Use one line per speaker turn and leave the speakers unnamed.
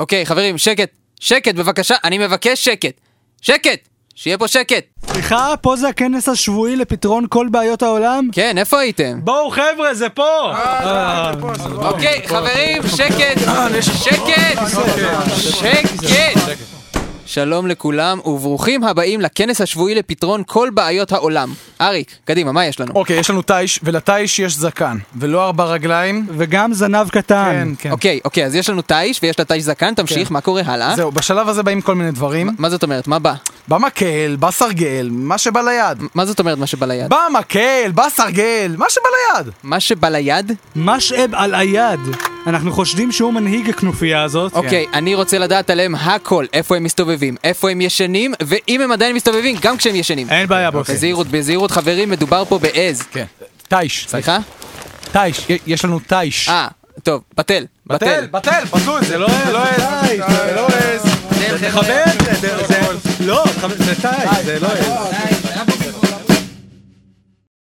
אוקיי, חברים, שקט. שקט, בבקשה. אני מבקש שקט. שקט! שיהיה פה שקט.
סליחה, פה זה הכנס השבועי לפתרון כל בעיות העולם?
כן, איפה הייתם?
בואו חבר'ה, זה פה!
אוקיי, חברים, שקט! שקט! שקט! שלום לכולם, וברוכים הבאים לכנס השבועי לפתרון כל בעיות העולם. אריק, קדימה, מה יש לנו?
אוקיי, יש לנו תיש, ולתיש יש זקן, ולא ארבע רגליים.
וגם זנב קטן.
כן, כן.
אוקיי, אוקיי, אז יש לנו תיש ויש לה תיש זקן, תמשיך, מה קורה הלאה?
זהו, בשלב הזה באים כל מיני דברים.
מה זאת אומרת? מה בא?
במקל, בסרגל, מה שבא ליד.
מה זאת אומרת מה שבא ליד?
במקל, בסרגל, מה שבא ליד.
מה שבא ליד?
משאב על היד. אנחנו חושדים שהוא מנהיג הכנופיה הזאת.
אוקיי, אני רוצה לדעת עליהם הכל, איפה הם מסתובבים, איפה הם ישנים, ואם הם עדיין מסתובבים, גם כשהם ישנים.
אין בעיה, בוס.
אוקיי.
בזהירות, בזהירות, חברים, מדובר פה בעז.
כן. תיש.
סליחה?
תיש, י- יש לנו תיש.
אה, טוב, בטל. בטל.
בטל, בטל, פסול, זה לא זה לא עז. זה לא עז.
תכבד, זה... לא, תכבד, זה תיש, זה לא...